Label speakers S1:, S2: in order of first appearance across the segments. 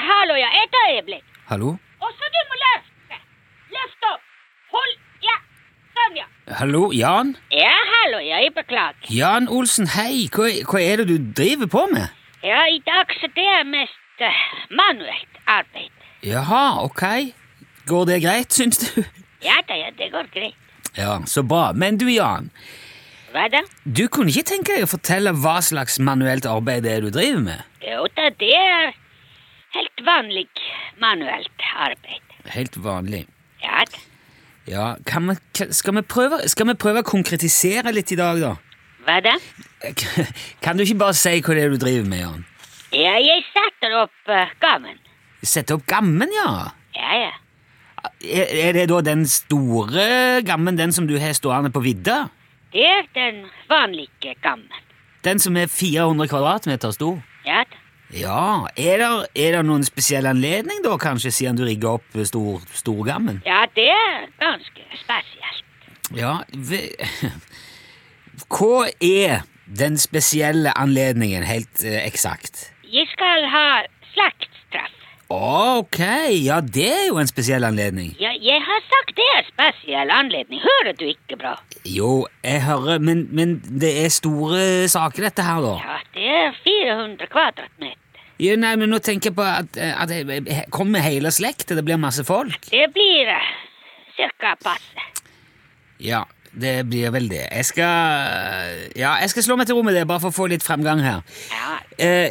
S1: et øyeblikk.
S2: Hallo?
S1: Også du må løfte. Løft opp. Hold Ja, sånn, ja.
S2: Hallo, Jan?
S1: Ja, hallo, ja, jeg beklager.
S2: Jan Olsen, hei! Hva, hva er det du driver på med?
S1: Ja, i dag så det er mest eh, manuelt arbeid.
S2: Jaha, ok. Går det greit, syns du?
S1: Ja da, ja, det går greit.
S2: Ja, så bra. Men du, Jan,
S1: Hva da?
S2: du kunne ikke tenke deg å fortelle hva slags manuelt arbeid det er du driver med?
S1: Jo da, det er helt vanlig manuelt arbeid.
S2: Helt vanlig.
S1: Ja da.
S2: Ja, kan vi, kan- skal, vi prøve, skal vi prøve å konkretisere litt i dag, da?
S1: Hva da?
S2: Kan du ikke bare si hva det er du driver med, Jan?
S1: Ja, jeg setter opp eh, gammen.
S2: Sette opp gammen, ja?
S1: Ja, ja.
S2: Er, er det da den store gammen, den som du har stående på vidda?
S1: Det er den vanlige gammen.
S2: Den som er 400 kvadratmeter stor?
S1: Ja da.
S2: Ja, er det, er det noen spesiell anledning da, kanskje, siden du rigger opp eh, stor, storgammen?
S1: Ja, det er ganske spesielt.
S2: Ja, ve- Hva er den spesielle anledningen, helt eh, eksakt?
S1: Jeg skal ha slaktstraff.
S2: Ok, ja, det er jo en spesiell anledning.
S1: Ja, jeg har sagt det er spesiell anledning. Hører du ikke bra?
S2: Jo, jeg hører, men, men det er store saker dette her, da.
S1: Ja, det er 400 kvadratmeter.
S2: Jo, nei, men nå tenker jeg på at, eh, at jeg- jeg kommer hele slekta, det blir masse folk.
S1: Det blir eh, cirka passe.
S2: Ja, det blir vel det. Jeg skal, ja, jeg skal slå meg til ro med det, bare for å få litt fremgang her.
S1: Ja,
S2: Eh,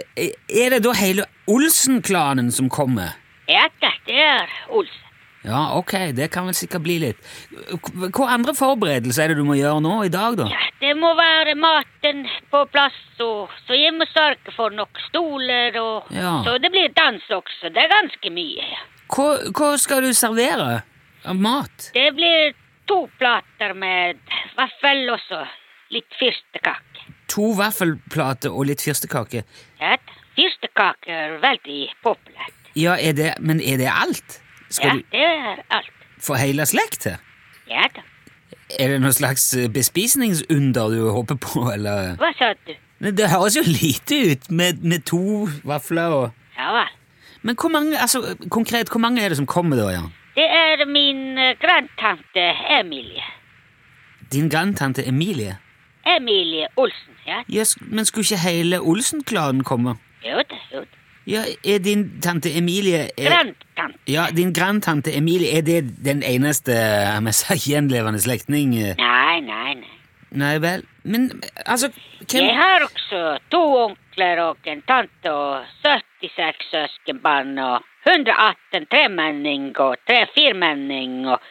S2: er det da hele Olsen-klanen som kommer?
S1: ja da, det er Olsen.
S2: Ja, ok, det kan vel sikkert bli litt. Hva andre forberedelser er det du må gjøre nå i dag, da?
S1: Ja, det må være maten på plass, og, så jeg må sørge for nok stoler, og
S2: Ja.
S1: så det blir dans også. Det er ganske mye. ja.
S2: Hva, hva skal du servere av mat?
S1: Det blir to plater med vaffel og så litt fyrstekake.
S2: To vaffelplater og litt fyrstekake.
S1: Ja, fyrstekake er veldig populært.
S2: Ja, er det, men er det alt?
S1: Ja,
S2: Skal
S1: det er alt.
S2: du få hele slekt til?
S1: Ja da.
S2: Er det noe slags eh, bespisningsunder du håper på, eller?
S1: Hva sa du?
S2: Nei, Det høres jo lite ut med, med to vafler og...
S1: Ja vel.
S2: Men hvor mange, altså konkret, hvor mange er det som kommer da, Jan?
S1: Det er min eh, grandtante Emilie.
S2: Din grandtante Emilie?
S1: Emilie Olsen, ja.
S2: Jøss, men skulle ikke hele Olsen-klanen komme?
S1: Jo da, jo da.
S2: Ja, er din tante Emilie er,
S1: Grandtante.
S2: Ja, din grandtante Emilie, er det den eneste jeg må si, gjenlevende slektning? eh?
S1: Nei, nei, nei.
S2: Nei vel, men altså
S1: Jeg
S2: hvem,
S1: har også to onkler og en tante og 76 søskenbarn og 118 tremenning og tre firmenning og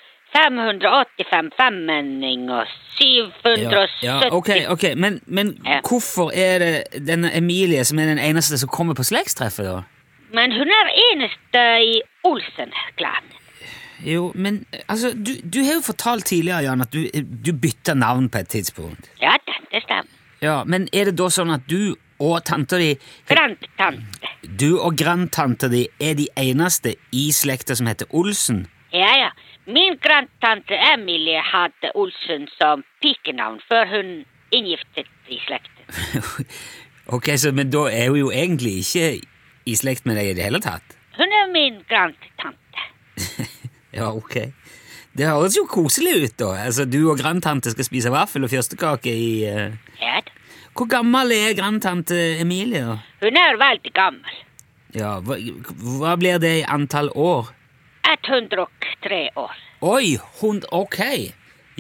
S1: 585 femmenning og 770
S2: ja, ok, ok, men, men
S1: Ja.
S2: hvorfor er det denne Emilie som er den eneste som kommer på slektstreffet, da?
S1: Men hun er eneste i Olsen-klanen.
S2: Jo, men altså, du, du har jo fortalt tidligere, Jan, at du, du bytta navn på et tidspunkt.
S1: Ja da, det stemmer.
S2: Ja, Men er det da sånn at du og tanta di
S1: Grandtante.
S2: Du og grandtanta di er de eneste i slekta som heter Olsen?
S1: Ja, ja. Min grandtante Emilie hadde Olsen som pikenavn før hun inngiftet i slekten.
S2: ok, så, Men da er hun jo egentlig ikke i slekt med deg i det hele tatt?
S1: Hun er min grandtante.
S2: Ja, ok. Det høres jo koselig ut, da. Altså, Du og grandtante skal spise vaffel og fyrstekake i eh,
S1: Ja da.
S2: Hvor gammel er grandtante Emilie? da?
S1: Hun er veldig gammel.
S2: Ja, hva, hva blir det i antall år?
S1: 103 år.
S2: Oi, hun, ok.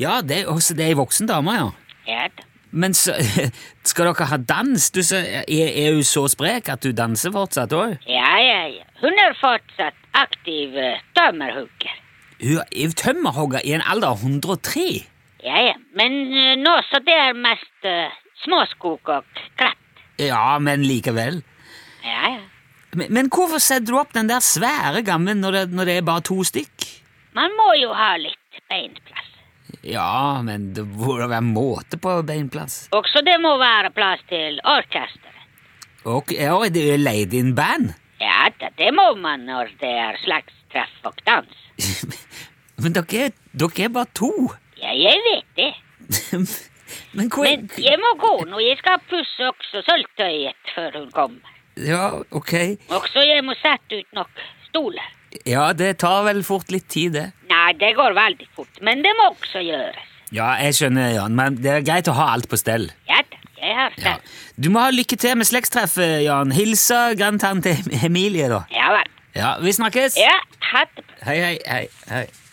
S2: Ja, det, også det er ei voksen dame, ja.
S1: Ja da.
S2: Men så, skal dere ha dans? Du, så, er, er hun så sprek at hun danser fortsatt òg?
S1: Ja, ja, ja. Hun er fortsatt aktiv eh, tømmerhugger.
S2: Hun er tømmerhogger i en alder av 103.
S1: Ja, ja. Men eh, nå så det er mest eh, småskog og kratt.
S2: Ja, men likevel.
S1: Ja, ja.
S2: Men, men hvorfor setter du opp den der svære gammen når det, når det er bare to stykk?
S1: Man må jo ha litt beinplass.
S2: Ja, men det må da være måte på beinplass.
S1: Og så det må være plass til orkesteret.
S2: Og ja, det er leid inn band.
S1: Ja, da, det må man når det er slagstreff og dans.
S2: Men dere, er- dere er bare to.
S1: Ja, jeg vet det.
S2: Men hvor
S1: Men jeg må gå nå. Jeg skal pusse også sølvtøyet før hun kommer.
S2: Ja, ok.
S1: Og så jeg må sette ut nok stoler.
S2: Ja, det tar vel fort litt tid, det.
S1: Nei, det går veldig fort, men det må også gjøres.
S2: Ja, jeg skjønner, Jan, men det er greit å ha alt på stell.
S1: Ja da, jeg har det.
S2: Ja. Du må ha lykke til med slektstreffet, Jan. Hilsa grandtante Emilie, da.
S1: Ja vel.
S2: Ja, vi snakkes.
S1: Ja, ha det.
S2: Hei, hei, hei. hei.